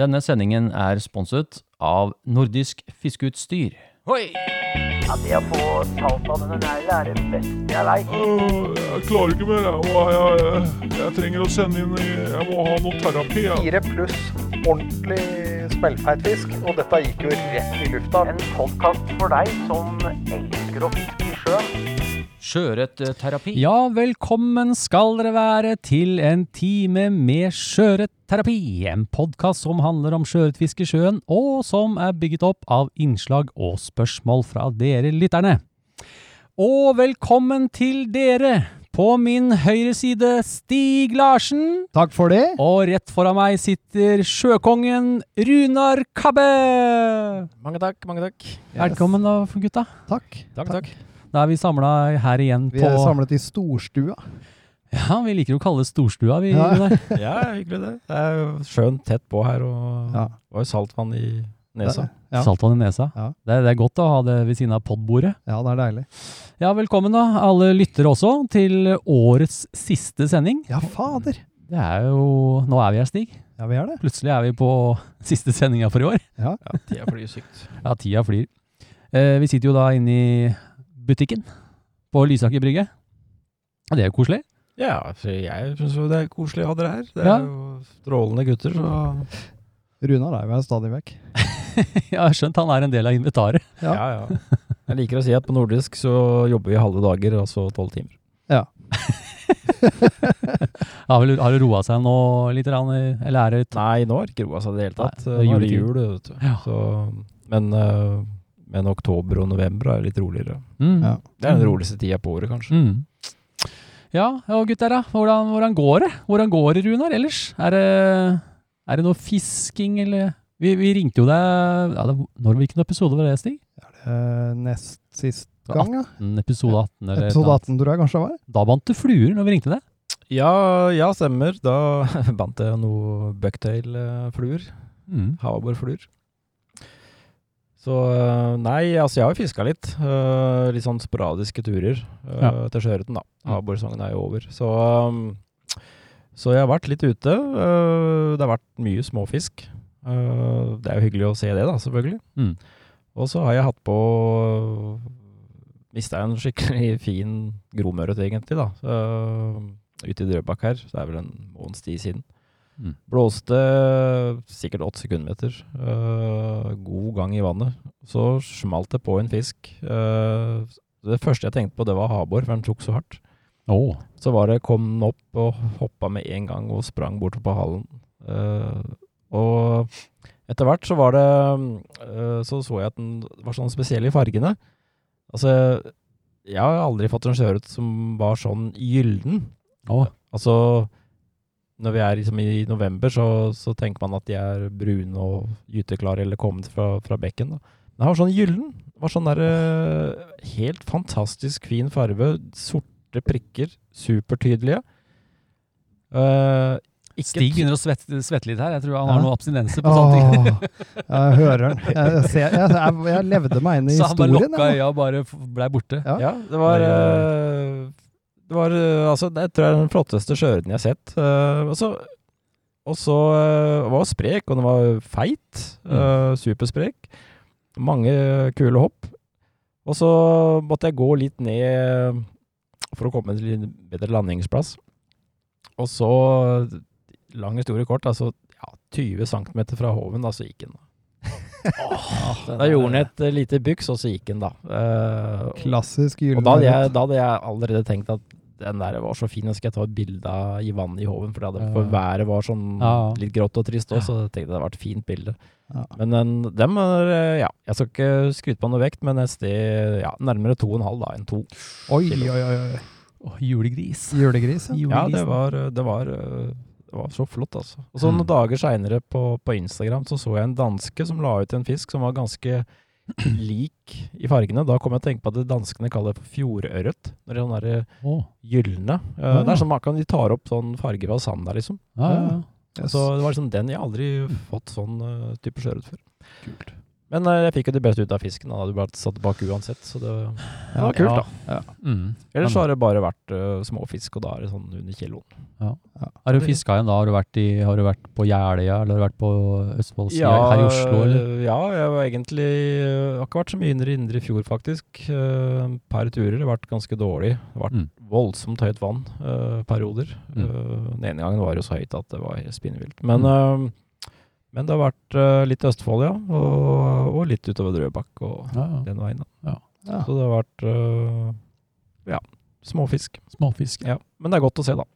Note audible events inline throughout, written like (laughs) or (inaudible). Denne sendingen er sponset av Nordisk Fiskeutstyr. Hoi! Ja, det å få talt av denne neglen er det beste jeg veit. Øh, Jeg klarer ikke mer. Jeg, må, jeg, jeg, jeg trenger å sende inn Jeg må ha noe terapi. Jeg. fire pluss ordentlig smellfeit fisk, og dette gikk jo rett i lufta. En podkast for deg som elsker å fiske i sjøen. eh, Sjøørretterapi. Ja, velkommen skal dere være til en time med sjøørretterapi. En podkast som handler om sjøørretfiske i sjøen, og som er bygget opp av innslag og spørsmål fra dere lytterne. Og velkommen til dere! På min høyre side Stig Larsen. Takk for det. Og rett foran meg sitter sjøkongen Runar Kabbe! Mange takk, mange takk. Velkommen da, gutta. Takk. Takk, takk. Da er vi samla her igjen Vi på er samlet i storstua. Ja, vi liker å kalle det storstua, vi. Ja. Gunnar. Ja, hyggelig det. Det er jo sjøen tett på her, og Ja. var jo saltvann i nesa. (laughs) Ja. Saltvann i nesa. Ja. Det, er- det er godt å ha det ved siden av podbordet. Ja, det er deilig. Ja, velkommen da, alle lyttere også, til årets siste sending. Ja, fader. Det er jo Nå er vi her, Stig. Ja, vi er det. Plutselig er vi på siste sendinga for i år. Ja, det flyr sykt. Ja, tida flyr. Eh, vi sitter jo da inne i butikken på Lysaker brygge. Og det er jo koselig. (laughs) Ja, for jeg syns jo det er koselig å ha dere her. Det Ja. er jo strålende gutter, så Runar er jo her stadig vekk. Jeg har skjønt han er en del av inventaret. (laughs) Ja. ja, ja. Jeg liker å si at på nordisk så jobber vi halve dager, altså tolv timer. Har, vel- har det roa seg nå litt? Eller er det Nei, nå har det ikke roa seg i det hele tatt. Nei, Nå det er er det juletid. jul, vet du. Ja. Så, men, eh, men oktober og november er litt roligere. mm. Ja. Det er den roligste tida på året, kanskje. Mm. Ja, og gutter, da. Hvordan, hvordan går det? Hvordan går det, Runar, ellers? Er det, er det noe fisking, eller Vi, vi ringte jo deg ja, det, Når Hvilken episode var det, Stig? Eh, nest sist gang, ja. En episode 18? Eller et Episode eller annet. 18 tror jeg kanskje det var. Da bandt du fluer når vi ringte deg. Ja, ja, stemmer. Da (laughs) bandt jeg noe eh, bucktail-fluer. Mm. Havaborfluer. Så eh, nei, altså jeg har jo fiska litt. eh, Litt sånn sporadiske turer eh, Ja. til sjøørreten, da. Mm. Havaborsesongen er jo over. Så, um, så jeg har vært litt ute. eh, Det har vært mye småfisk. Eh, Det er jo hyggelig å se det, da, selvfølgelig. Mm. Og så har jeg hatt på Mista en skikkelig (laughs) fin gromørret, egentlig, da. Eh, ute i Drøbak her. Så det er vel en måneds tid siden. Mm. Blåste sikkert åtte sekundmeter. eh, god gang i vannet. Så smalt det på en fisk. eh, det første jeg tenkte på, det var havbor, for den tok så hardt. Å. Så var det kom den opp og hoppa med en gang og sprang bortover på halen. Eh, og etter hvert så var det eh, Så så jeg at den var sånn spesiell i fargene. Altså, jeg har aldri fått en sjøørret som var sånn gyllen. Å. Altså, når vi er liksom i november, så, så tenker man at de er brune og gyteklare eller kommet fra, fra bekken. Da. Den var sånn gyllen. Det var sånn der, eh, helt fantastisk fin farve. Sorte prikker. Supertydelige. Eh, ikke Stig begynner å svette, svette litt her. Jeg tror han Ja. har noen abstinenser på sånne (laughs) ting. Åh, jeg hører den. Jeg, ser, jeg, jeg, jeg levde meg inn i Så han bare historien. lukka jeg, øya og bare f- blei borte. Ja. Ja, det var, Oi, eh, det var eh, altså, Det tror jeg er den flotteste sjøørreten jeg har sett. Eh, og så og så, eh, var den sprek, og den var feit. eh, supersprek. Mange kule hopp. Og så måtte jeg gå litt ned for å komme til en bedre landingsplass. Og så, lang historie kort, altså ja, 20 cm fra hoven, da så gikk den. da gjorde den et eh, lite byks, og så gikk den, da. Eh, Klassisk og da hadde, jeg, gyllen. da hadde jeg allerede tenkt at den der var så fin, nå skal jeg ta et bilde av i vannet i hoven, for, det hadde, for Ja. været var sånn Ja. litt grått og trist også, så jeg tenkte det hadde vært et fint bilde. Ja. Men den, dem er, eh, ja, jeg skal ikke skryte på noe vekt, men et sted ja, nærmere to og en halv da, enn to. Oi, oi, oi. oi. Å, julegris. Julegris, ja. Ja, det Julegrisen. var, eh, det var, eh, det var så flott, altså. Og så Mm. noen dager seinere på, på Instagram så så jeg en danske som la ut en fisk som var ganske (clears throat) lik i fargene. Da kom jeg å tenke på at det danskene kaller for fjordørret. Når det er sånn derre Å. gylne. Eh, Ah. Det er sånn man kan, de tar opp sånn farge fra sand der, liksom. Ja, ja, ja. Yes. sånn, Så det var liksom den jeg har aldri fått sånn eh, type sjøørret før. Kult. Men eh, jeg fikk jo det beste ut av fisken. Han hadde jo bare satt bak uansett, så det, det var Ja. kult, da. Mm. Men- Ellers så har det bare vært eh, småfisk, og da er det sånn under kiloen. Har du fiska igjen da? Har du vært, i, har du vært på Jeløya, eller har du vært på Østfoldsida her i Oslo, øh, eller? Ja, jeg var egentlig eh, Har ikke vært så mye indre indre i fjor, faktisk. Eh, Per turer. Det har vært ganske dårlig. Det har vært Mm. voldsomt høyt vann eh, perioder. Mm. Eh, Den ene gangen var det jo så høyt at det var spinnvilt. Men, Mm. eh, men det har vært eh, litt Østfold, ja. Og, og litt utover Drøbak og Ja, ja. den veien. da. Ja. Ja. Så det har vært eh, ja, småfisk. Småfisk. Ja. Men det er godt å se, da.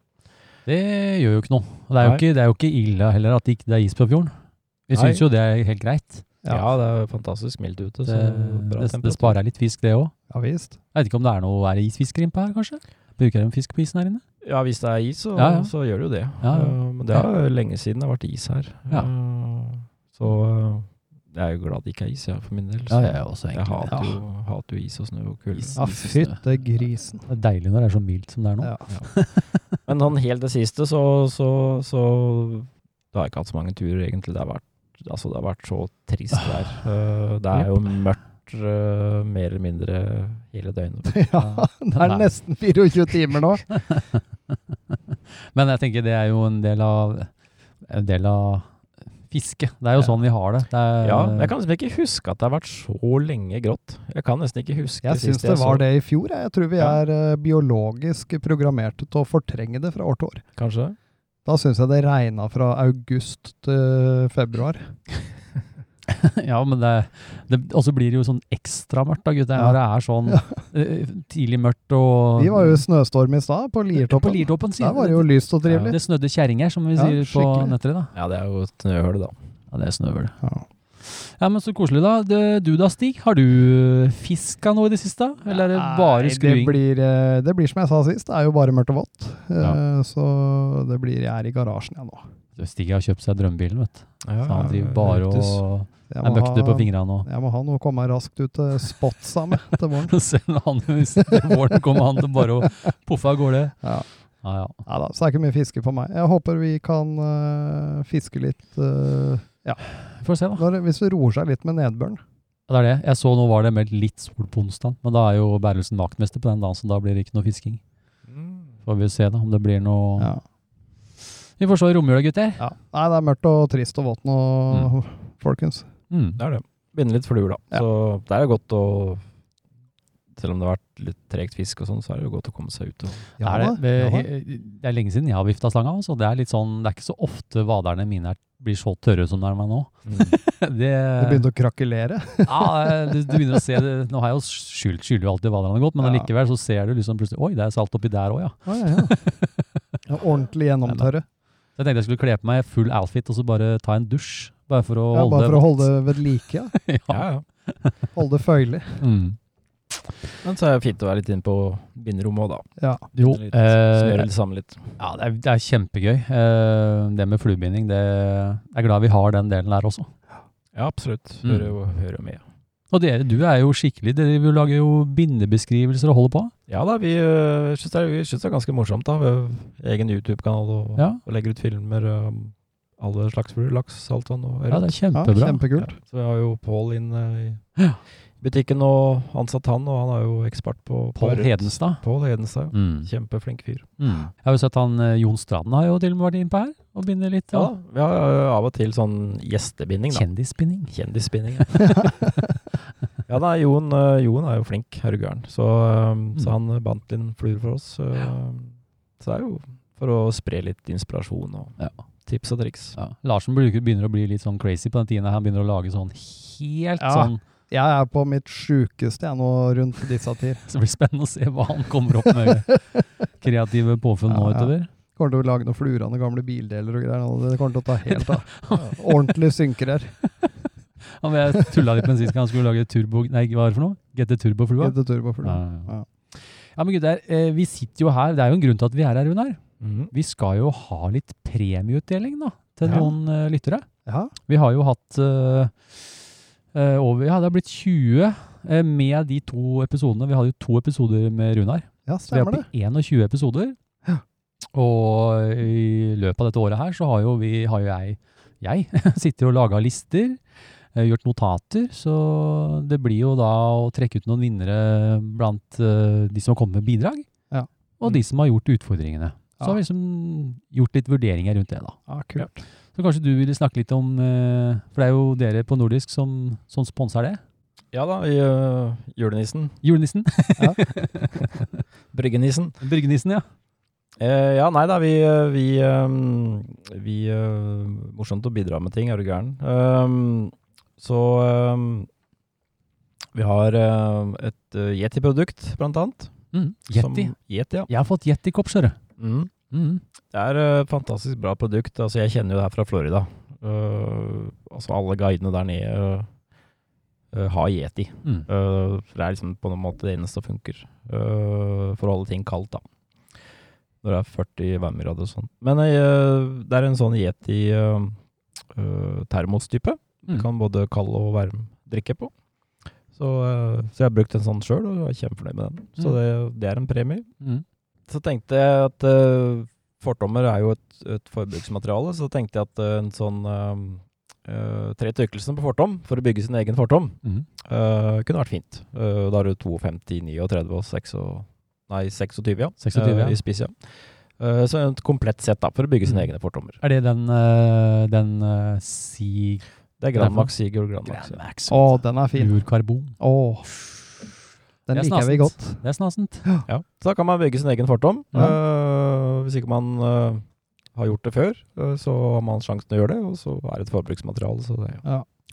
Det gjør jo ikke noe. Og Det er jo Nei. ikke, det er jo ikke ille heller at det ikke det er is på fjorden. Vi Nei. syns jo det er helt greit. Ja, Ja. det er fantastisk mildt ute. Det, Så det, bra det temperatur. sparer litt fisk, det òg. Ja visst. Jeg vet ikke om det er noe er det isfisker innpå her, kanskje? Bruker de fisk på isen her inne? Ja, hvis det er is, så, Ja, ja. så gjør det jo det. Ja, ja. Eh, Men det er jo lenge siden det har vært is her. Ja. Eh, Så eh, jeg er jo glad det ikke er is, jeg, for min del. Så jeg er også jeg hater jo, hater jo is og snø og kulde. Is. Ja, fytte grisen. Det er deilig når det er så mildt som det er nå. Ja. Men sånn helt det siste, så, så, så Da har jeg ikke hatt så mange turer, egentlig. Det har vært, altså, det har vært så trist vær. Eh, Det er jo mørkt eh, mer eller mindre hele døgnet. (laughs) Ja, det er Nei. nesten 24 timer nå. (laughs) Men jeg tenker det er jo en del av, en del av fisket. Det er jo Ja. sånn vi har det. det er, Ja, jeg kan liksom ikke huske at det har vært så lenge grått. Jeg kan nesten ikke huske Jeg syns sist det jeg var så- det i fjor. Jeg, jeg tror vi Ja. er eh, biologisk programmert til å fortrenge det fra år til år. Kanskje? Da syns jeg det regna fra august til februar. (laughs) Ja, men det, det Og så blir det jo sånn ekstra mørkt, da, gutter. Ja. Når det er sånn eh, tidlig mørkt og Vi var jo i snøstorm i stad, på på Liertoppen. Liertoppen, sier Der var det jo lyst og det. trivelig. Det snødde kjerringer, som vi Ja, sier på skikkelig. Nøtterøy, da. Ja, det er jo et snøhull, da. Ja, det er snøvel. Ja. Ja, men så koselig, da. Det- Du da, Stig. Har du fiska noe i det siste? Eller er det bare Nei, skruing? Det blir, eh, det blir som jeg sa sist, det er jo bare mørkt og vått. Eh, Ja. Så det blir jeg er i garasjen jeg nå. Stig har kjøpt seg drømmebilen, vet du. Så han driver bare Rutes. og Jeg er må ha- møkte på fingrene og Jeg må ha noe å komme raskt ut til spotsa med til (laughs) våren. Selv han til våren kommer han til bare å poffe av gårde. Ja. Ja, ja. Ja da, så det er ikke mye fiske for meg. Jeg håper vi kan eh, fiske litt eh, Vi får se, da. når, Hvis det roer seg litt med nedbøren. Det er det. Jeg så nå var det meldt litt sol på onsdag, men da er jo Berlesen vaktmester på den dagen, så da blir det ikke noe fisking. Mm, Får vi se da om det blir noe Ja. Vi får se i romjula, gutter. Ja. Nei, det er mørkt og trist og vått nå, (laughs) folkens. Mm. Det er det. Begynner litt fluer, da. Ja. Så det er jo godt å Selv om det har vært litt tregt fisk og sånn, så er det jo godt å komme seg ut og Det er, det, det, det er lenge siden jeg har vifta slanga, så det er litt sånn, det er ikke så ofte vaderne mine er, blir så tørre som de er meg nå. (laughs) Mm. Det, Det begynte å krakelere. ja, du, du begynner å se det. Nå har jeg jo skyld, skylder jo alltid vaderne godt, men Ja. allikevel så ser du liksom plutselig Oi, det er salt oppi der òg, (laughs) ja. Å, ja, ja. Ja, ordentlig gjennomtørre. Så jeg tenkte jeg skulle kle på meg full outfit og så bare ta en dusj. Bare for å Ja, holde bare for å vått. holde det ved like. Ja. (laughs) ja. (laughs) ja. Holde det føyelig. Mm. Men så er det fint å være litt inne på binderommet òg, da. Ja. Jo, Litt, eh, Smøre det sammen litt. Ja, det er, det er kjempegøy. Eh, det med fluebinding, det jeg er glad vi har den delen der også. Ja, absolutt. Mm. Hører jo hører jo med. Og dere, du er jo skikkelig, dere vil lage jo bindebeskrivelser og holde på. Ja da, vi øh, syns det, er- vi synes det er ganske morsomt, da. Vi har egen YouTube-kanal og, Ja. og legger ut filmer. Um, alle slags fluer. Laks, saltvann og Ja, det er Ja, kjempebra. kjempekult. Ja, så vi har jo Pål inn eh, i Ja. butikken og ansatt han, og han er jo ekspert på på Pål rødt. Hedenstad. Pål Hedenstad, ja. Mm. Kjempeflink fyr. Mm. Jeg har jo sett han eh, Jon Stranden har jo til og med vært innpå her og binder litt. Ja, Ja. da. Vi har eh, av og til sånn gjestebinding, da. Kjendisbinding. Kjendisbinding. (laughs) Ja, ja da, Jon, eh, Jon er jo flink, herre gæren. Så, eh, Mm. så han eh, bandt inn fluer for oss. eh, Så det er jo for å spre litt inspirasjon og Ja. tips og triks. Ja. Larsen bruker- begynner å bli litt sånn crazy på den tiden. her. Han begynner å lage sånn helt Ja. sånn Jeg er på mitt sjukeste jeg nå rundt disse tider. Så det blir spennende å se hva han kommer opp (laughs) med kreative påfunn nå Ja, ja. utover. Kommer til å lage noen fluer av noen gamle bildeler og greier. nå. Det kommer til å ta (laughs) helt av. Ja, Ordentlig synker her. Han jeg tulla litt med sist gang han skulle lage turbo... Nei, hva er det for noe? GT Turboflua? Etter turboflue. Ja, ja, ja. ja, men gutter, eh, vi sitter jo her. Det er jo en grunn til at vi er her, Runar. Mhm. Vi skal jo ha litt premieutdeling da, til Ja. noen eh, lyttere. Ja. Vi har jo hatt eh, eh, over Ja, det har blitt 20 eh, med de to episodene. Vi hadde jo to episoder med Runar. ja, Så vi er stemmer det. oppe i 21 episoder. Og (laughs) i løpet av dette året her så har jo vi, har jo jeg, jeg sitter og laga lister. eh, eh, gjort notater, så det blir jo da å trekke ut noen vinnere blant eh, de som har kommet med bidrag, Ja. og de som har gjort utfordringene. Så Ja. har vi liksom gjort litt vurderinger rundt det, da. Ja, Ah, kult. Så kanskje du ville snakke litt om eh, For det er jo dere på Nordisk som, som sponser det. Ja da, i, øh, julenissen. Julenissen. (laughs) Bryggenissen. Bryggenissen, ja. Eh, ja, nei da, vi, øh, vi, øh, vi øh, Morsomt å bidra med ting, er du gæren. Ehm, så øhm, vi har øh, et øh, Yeti-produkt, blant annet. Mm. Yeti. Som- Yeti, ja. Jeg har fått Yeti-kopp, skjønner du. Mm. Mm. Det er eh, et fantastisk bra produkt. Altså, jeg kjenner jo det her fra Florida. Eh, altså, alle guidene der nede eh, eh, har yeti. Mm. Eh, det er liksom på en måte det eneste som funker eh, for å holde ting kaldt, da. Når det er 40 varmegrader og sånn. Men eh, det er en sånn yeti-termos-type. Mm. Du kan både kald og varm drikke på. Så, eh, så jeg har brukt en sånn sjøl, og jeg er kjempefornøyd med den. Mm. Så det, det er en premie Mm. så tenkte jeg at eh, fortommer er jo et, et forbruksmateriale, så tenkte jeg at eh, en sånn eh, eh, tre tykkelsen på fortom for å bygge sin egen fortom Mm. eh, kunne vært fint. Eh, da har du 52, 39 og 6 og, nei, 26 ja, 26, eh, ja. i spiss. Ja. Eh, så et komplett sett da, for å bygge sine Mm. egne fortommer. Er det den, eh, den eh, si... Det er Derfor? Granmax, Siger og Granmax. Ja. Granmax. Å, den er fin. Fluorkarbon. Å, den Det er liker vi snasent. godt. Det er snasent. Ja. Så da kan man bygge sin egen fortom. Ja. Eh, hvis ikke man eh, har gjort det før, eh, så har man sjansen til å gjøre det, og så er det et forbruksmateriale, så det,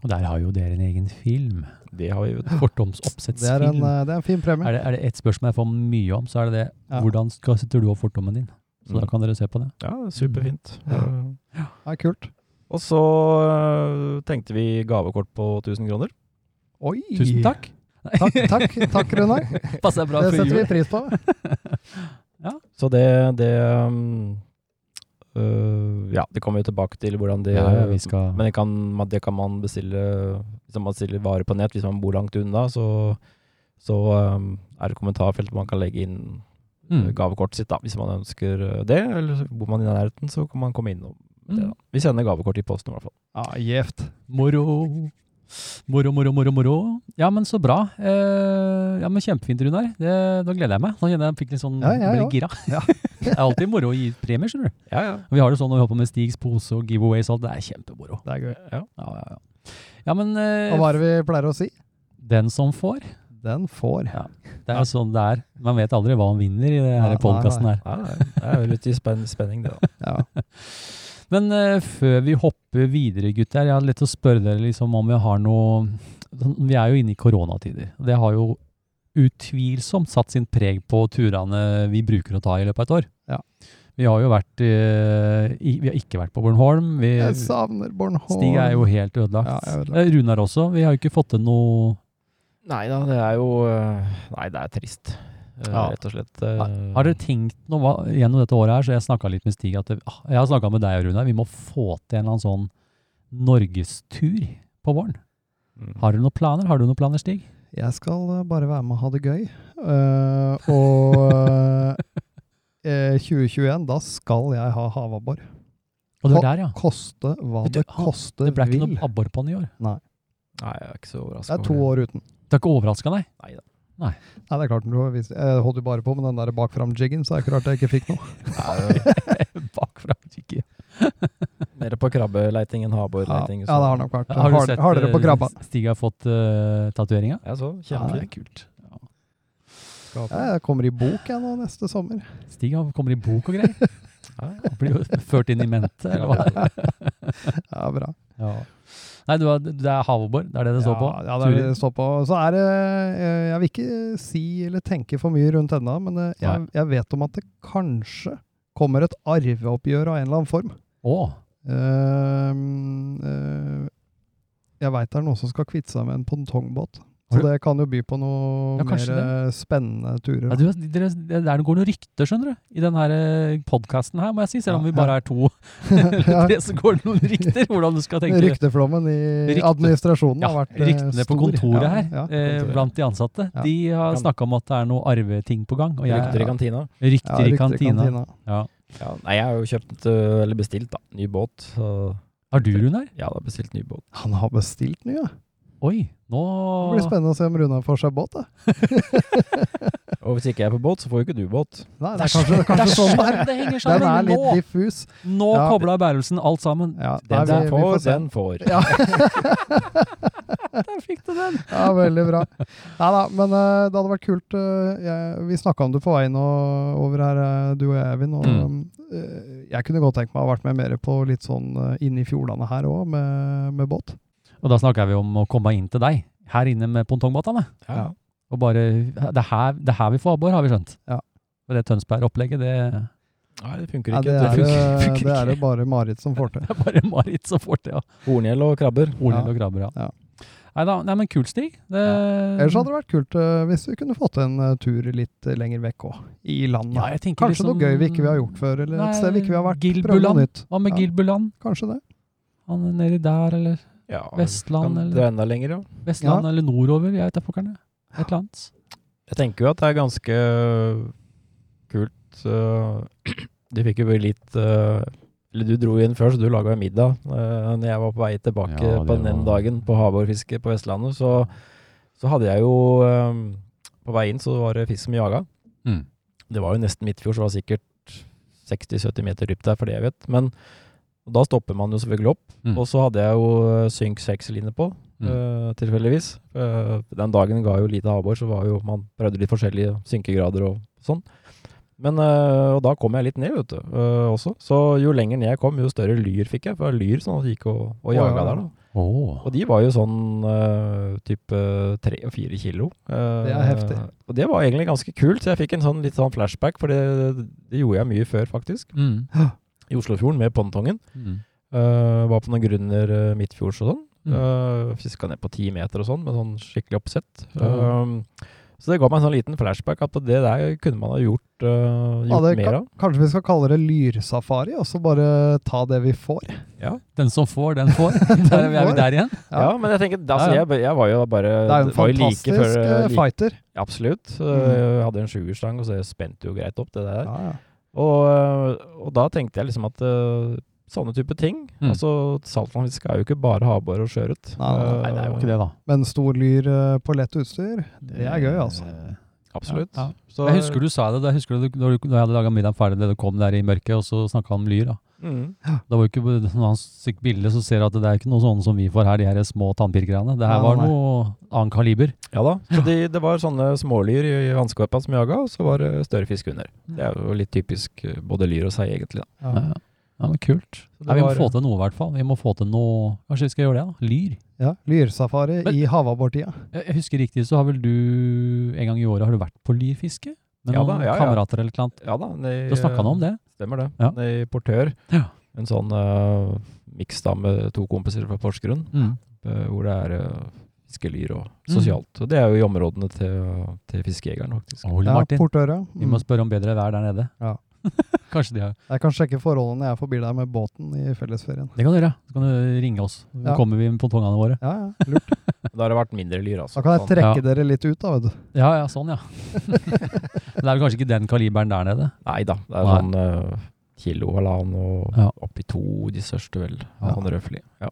Og der har jo dere en egen film. det har vi jo Det er en, Fortomsoppsettsfilm. Er, eh, det er en fin premie. det- er det et spørsmål jeg får mye om, så er det det Ja. hvordan skal, setter du opp fortommen din? Så da Mm. kan dere se på det. Mm. Ja, superfint. Eh, Ja, kult. Og så eh, tenkte vi gavekort på 1000 kroner. Oi! Tusen takk. Takk, takk, takk Runar. Passer (laughs) bra Det for setter jul. vi pris på. Så det, det um, øh, Ja, det kommer vi tilbake til hvordan det Ja, ja, vi skal Men det kan, man- det kan man bestille Hvis man bestiller varer på nett, hvis man bor langt unna, så, så um, er det kommentarfelt hvor man kan legge inn Mm. eh, gavekortet sitt, da, hvis man ønsker eh, det. Eller så bor man i nærheten, så kan man komme innom. Det, Mm. da. Vi sender gavekort i posten, i hvert fall. Ja, Gjevt. Moro. Moro, moro, moro, moro. Ja, men så bra. Eh, ja, men Kjempefint, Runar. Det- Nå gleder jeg meg. Nå kjenner jeg jeg fikk litt sånn Ja, ja, ble ja. litt gira. (laughs) det er alltid moro å gi ut premier, skjønner du. Ja, ja. Vi har det sånn når vi holder på med Stigs pose og giveaways og alt. Det er kjempemoro. Det er gøy. Ja, ja, ja. ja men eh, Og hva er det vi pleier å si? den som får, Den får. Ja. det er sånn det er. Man vet aldri hva man vinner i denne Nei, podkasten her. Ja, det er jo litt i spenn spenning, det, da. Ja. Men eh, før vi hopper videre, gutter, jeg hadde lyst til å spørre dere liksom om vi har noe sånn, Vi er jo inne i koronatider. og Det har jo utvilsomt satt sin preg på turene vi bruker å ta i løpet av et år. Ja. Vi har jo vært eh, i, Vi har ikke vært på Bornholm. Vi, Jeg savner Bornholm. Stig er jo helt ødelagt. Ja, jeg er ødelagt. Eh, Runar også. Vi har jo ikke fått til noe (laughs) Nei da, det er jo øh, Nei, det er trist, øh, Ja. rett og slett. øh, Har Mm. dere tenkt noe hva- gjennom dette året her, så jeg snakka litt med Stig at det, ah, Jeg har snakka med deg, Rune. Vi må få til en eller annen sånn norgestur på våren. Mm. Har dere noen planer? Har du noen planer, Stig? Jeg skal eh, bare være med og ha det gøy. Eh, og eh, 2021, da skal jeg ha havabbor. Og det var der, ja. Koste hva Du, det ha- koste Det ble ikke vil. noe abbor på den i år. Nei, jeg er ikke så Det overraska. er to år uten. Det har ikke overraska (laughs) deg? Nei, det er klart, men du- hvis- jeg holdt jo bare på med den der bakfram-jiggen, så er det klart jeg ikke fikk noe. Bakfra ikke. (laughs) Mer på krabbeleiting enn haborleiting. ja, så- det har nok vært Har du hard- sett hardere på eh, krabba. Stig har fått uh, tatoveringa? Jeg så. Ja, Kjempefint. det er kult. Ja. Ja, jeg kommer i bok jeg nå neste sommer. Stig han kommer i bok og greier. (laughs) Ja, Blir jo ført inn i mente, eller hva? Ja, bra. Ja. Nei, du har, det er havabbor. Det er det det står på? Ja, ja, det er det Turer. det står på. Så er det eh, Jeg vil ikke si eller tenke for mye rundt ennå, men eh, jeg, Nei. jeg vet om at det kanskje kommer et arveoppgjør av en eller annen form. Å, Eh, eh, jeg veit det er noen som skal kvitte seg med en pongtongbåt. Så Har du- det kan jo by på noe Ja, mer kanskje eh, spennende turer. Ja, da. (laughs) du, dere, det der går noen rykter, skjønner du, i denne podkasten her, må jeg si. Selv om Ja, vi bare er (laughs) to (laughs) eller Ja. tre, så går det noen rykter hvordan du skal tenke. Rykteflommen i Rykte. administrasjonen Ja, har vært eh, ryktene på stor. kontoret Ja, her, ja, eh, kontoret. blant de ansatte, Ja. de har Kan- snakka om at det er noe arveting på gang. Og jeg, Rykter i kantina. Ja, Rykter i rykter kantina. Ja. Ja, nei, jeg har jo kjøpt, øh, eller bestilt, da, ny båt. Så Har du, Runar? Jeg hadde bestilt ny båt. Han har bestilt ny, ja. Oi, nå Det blir spennende å se om Runar får seg båt. Da. Og hvis ikke jeg er på båt, så får jo ikke du båt. Nei, det er kanskje, det er kanskje sånn det er. det henger Den sammen. er litt nå diffus. nå Ja. kobla bærelsen alt sammen. Ja, Den nei, vi- som vi får, se. den får. Ja. (laughs) Der fikk du den! Ja, veldig bra. Nei da, men eh, det hadde vært kult. eh, jeg, vi snakka om det på veien og, over her, eh, du og jeg, Evin. Og, Mm. eh, jeg kunne godt tenkt meg å ha vært med mer på litt sånn eh, inn i fjordene her òg, med, med båt. Og da snakker vi om å komme inn til deg, her inne med pongtongbåtene. Ja. Og bare Det er her, det er her vi får abbor, har vi skjønt. Ja. Og det Tønsberg-opplegget, det (laughs) Nei, det funker Nei, ikke. det, det er det, funker, funker det er ikke. det bare Marit som får til. det er bare Marit som får til. Ja. Horngjell og krabber. Orlild Ja. og Grabber, ja. Ja. Nei da, nei, men kult, Stig. Det, Mm. Ellers hadde det vært kult eh, hvis vi kunne fått en eh, tur litt eh, lenger vekk òg, i landet. Ja, jeg tenker Kanskje liksom- noe gøy vi ikke vi har gjort før, eller Nei, et sted vi ikke vi har vært. Prøve Gilbuland. noe nytt. Hva med Ja. Gilbuland? Kanskje det. Han er nedi der, eller Ja, Vestland, kan eller- dra enda lenger, ja. Vestland, eller nordover. Jeg vet da pokkerne. Et eller annet. Jeg tenker jo at det er ganske kult øh, (clears throat) De fikk jo bare litt øh, Eller du dro inn før, så du laga middag. Uh, når jeg var på vei tilbake Ja, det på den var- dagen på havårfiske på Vestlandet, så, så hadde jeg jo øh, På vei inn så var det fisk som jaga. Mm. Det var jo nesten midtfjord, så det var sikkert 60-70 meter dypt der, for det jeg vet. Men da stopper man jo selvfølgelig opp. Mm. Og så hadde jeg jo øh, synk 6-line på. Mm. Eh, tilfeldigvis. Eh, den dagen ga jo lite havbor, så var jo man prøvde litt forskjellige synkegrader og sånn. Men eh, og da kom jeg litt ned, vet du, eh, også. Så jo lenger ned jeg kom, jo større lyr fikk jeg. For det var lyr som gikk og, og jaga ja. der, da. Åh. Og de var jo sånn eh, type tre og fire kilo. Eh, Det er heftig. Og det var egentlig ganske kult, så jeg fikk en sånn litt sånn flashback, for det, det gjorde jeg mye før, faktisk. Mm. I Oslofjorden med pontongen. Mm. Eh, var på noen grunner eh, midtfjords og sånn. Mm. Mm. Fiska ned på ti meter og sånn, med sånn skikkelig oppsett. Ja. Um, så det ga meg en sånn liten flashback at det der kunne man ha gjort, eh, Ja, gjort det, mer kan, av. kanskje vi skal kalle det lyrsafari, og så bare ta det vi får. Den som får, den (laughs) får. Der er vi får. der igjen. Ja. Ja. men jeg tenker, altså, Ja, ja. Jeg, jeg var jo bare Det er jo en var jo like fantastisk før, eh, like- fighter. Absolutt. Eh, Mm. jeg hadde en sjuerstang, og så jeg spente jo greit opp det der. Ja, ja. Og, eh, og da tenkte jeg liksom at eh, sånne type ting Mm. Altså, saltlandfiske er jo ikke bare havbor og sjøørret. Nei, nei, Nei, det er jo Eh, ikke det, da. Men stor lyr eh, på lett utstyr, det er gøy, altså. Absolutt. Eh, Ja, ja. Så- Jeg husker du sa det. da Jeg husker du, når, du, når jeg hadde laga middagen ferdig, det du kom der i mørket, og så snakka han om lyr. da. Mm. Det var jo ikke, (laughs) Når han fikk bildet, så ser jeg at det er ikke noe sånne som vi får her, de her små tannpirkerne. Det her Nei, var nei, nei. noe annen kaliber. Ja da. Så de, det var sånne smålyr i, i vannskorpa som jaga, og så var det større fisk under. Det er jo litt typisk eh, både lyr og sei, egentlig. Da. Ja, Ja. ja. ja men Kult. Så det Nei, vi må var- få til noe, i hvert fall. Vi må få til noe Kanskje vi skal gjøre det? da? Lyr. Ja, lyrsafari Men- i havabbortida. Jeg jeg husker riktig, så har vel du en gang i året har du vært på lyrfiske? Med Ja da, noen ja, ja. kamerater eller et eller annet? Ja da. nei, Du snakka noe om det? Stemmer det. Ja. I Portør. Ja. En sånn uh, miks da med to kompiser fra Porsgrunn, Mm. eh, hvor det er eh, fiskelyr og Mm. sosialt. Og det er jo i områdene til, til fiskejegeren, faktisk. Ole Ja, Martin, Portøra. vi må Mm. spørre om bedre vær der nede. Ja. (laughs) Kanskje de har Jeg kan sjekke forholdene når jeg er forbi der med båten i fellesferien. Det kan du gjøre. Så kan du ringe oss. Så Ja. kommer vi med pongtongene våre. Ja, (laughs) ja, lurt. Da har det vært mindre lyr, altså. Da kan jeg Sånn. trekke Ja. dere litt ut, da, vet du. Ja, ja, sånn, (laughs) ja. Men det er vel kanskje ikke den kaliberen der nede? Nei da. Det er Nei. sånn eh, kilo og halvannen og Ja. opp i to, de største vel. Ja. Sånn røffelig. Ja.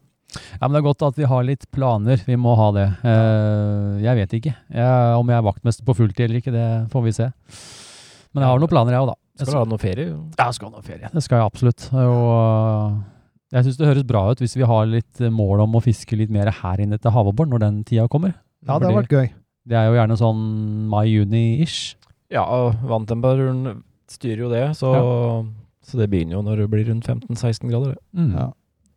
Ja, men Det er godt at vi har litt planer. Vi må ha det. Eh, jeg vet ikke jeg, om jeg er vaktmester på fulltid eller ikke. Det får vi se. Men jeg har noen planer, jeg òg, da. Jeg Skal du ha noe ferie? Jeg skal ha noe ferie. Det skal jeg absolutt. Og eh, jeg syns det høres bra ut hvis vi har litt eh, mål om å fiske litt mer her inne til havabbor når den tida kommer. Ja, det har Fordi- vært gøy. Det er jo gjerne sånn mai-juni-ish. Ja, og vanntemperaturen styrer jo det, så, så det begynner jo når det blir rundt 15-16 grader. det. Mm. Ja.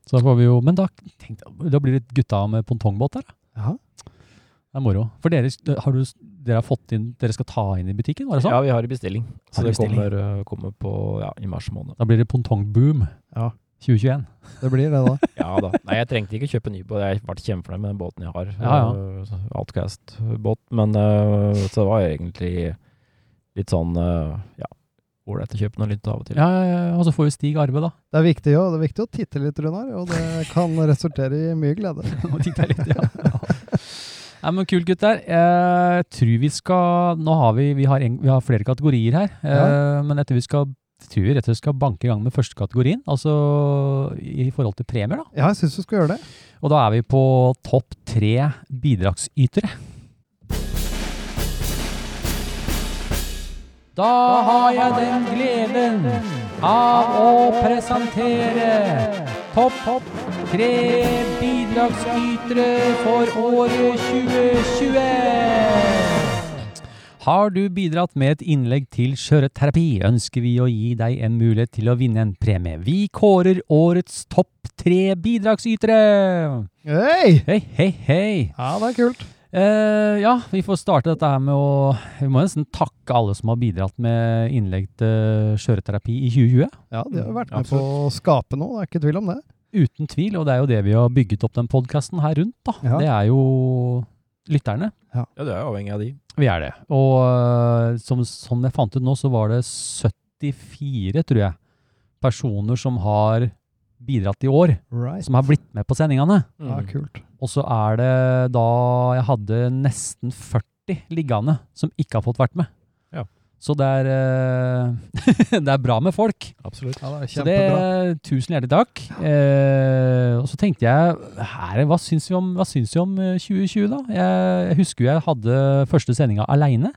Så får vi jo Men da, tenk, deg, da blir det gutta med pongtongbåt der, da. Ja. Det er moro. For dere, har du, dere har fått inn Dere skal ta inn i butikken, var det sånn? Ja, vi har i bestilling. Så Har i det bestilling. kommer, eh, kommer på ja, i mars måned. Da blir det pongtongboom Ja. 2021. Det blir det, da. Ja da. Nei, jeg trengte ikke kjøpe ny båt. Jeg ble kjempefornøyd med den båten jeg har. Ja, ja. Eh, Outcast-båt. Men eh, så det var egentlig litt sånn eh, ja, ålreit å kjøpe noe litt av og til. Ja, ja, ja, og så får vi Stig Arve, da. Det er viktig, jo. Det er viktig å titte litt, Runar, og det kan resultere i mye glede. Nå titter jeg litt, ja. Nei, men Kult, gutter. Jeg tror vi skal Nå har vi, vi, har, en, vi har flere kategorier her, eh, men jeg tror vi skal tror vi rett og slett skal banke i gang med første kategorien, altså i forhold til premier, da. Ja, jeg syns du skal gjøre det. Og da er vi på topp tre bidragsytere. Da har jeg den gleden av å presentere topp topp tre bidragsytere for året 2020. Har du bidratt med et innlegg til Skjøreterapi, ønsker vi å gi deg en mulighet til å vinne en premie. Vi kårer årets topp tre bidragsytere! Hei! Hei, hei, hei! Ja, det er kult. Eh, ja, vi får starte dette her med å Vi må nesten takke alle som har bidratt med innlegg til Skjøreterapi i 2020. Ja, De har jo vært med på å skape noe, det er ikke tvil om det. Uten tvil, og det er jo det vi har bygget opp den podkasten her rundt, da. Ja. Det er jo lytterne. Ja, du er jo avhengig av de. Vi er det. Og eh, som, som jeg fant ut nå, så var det 74, tror jeg, personer som har bidratt i år. Right. Som har blitt med på sendingene. Mm. Ja, kult. Og så er det da jeg hadde nesten 40 liggende som ikke har fått vært med. Ja. Så det er, eh, (laughs) det er bra med folk. Absolutt. Ja, det er Så det, kjempebra. tusen hjertelig takk. Eh, og så tenkte jeg, her, hva syns vi om, hva syns vi om eh, 2020 da? Jeg, jeg husker jo jeg hadde første sendinga aleine,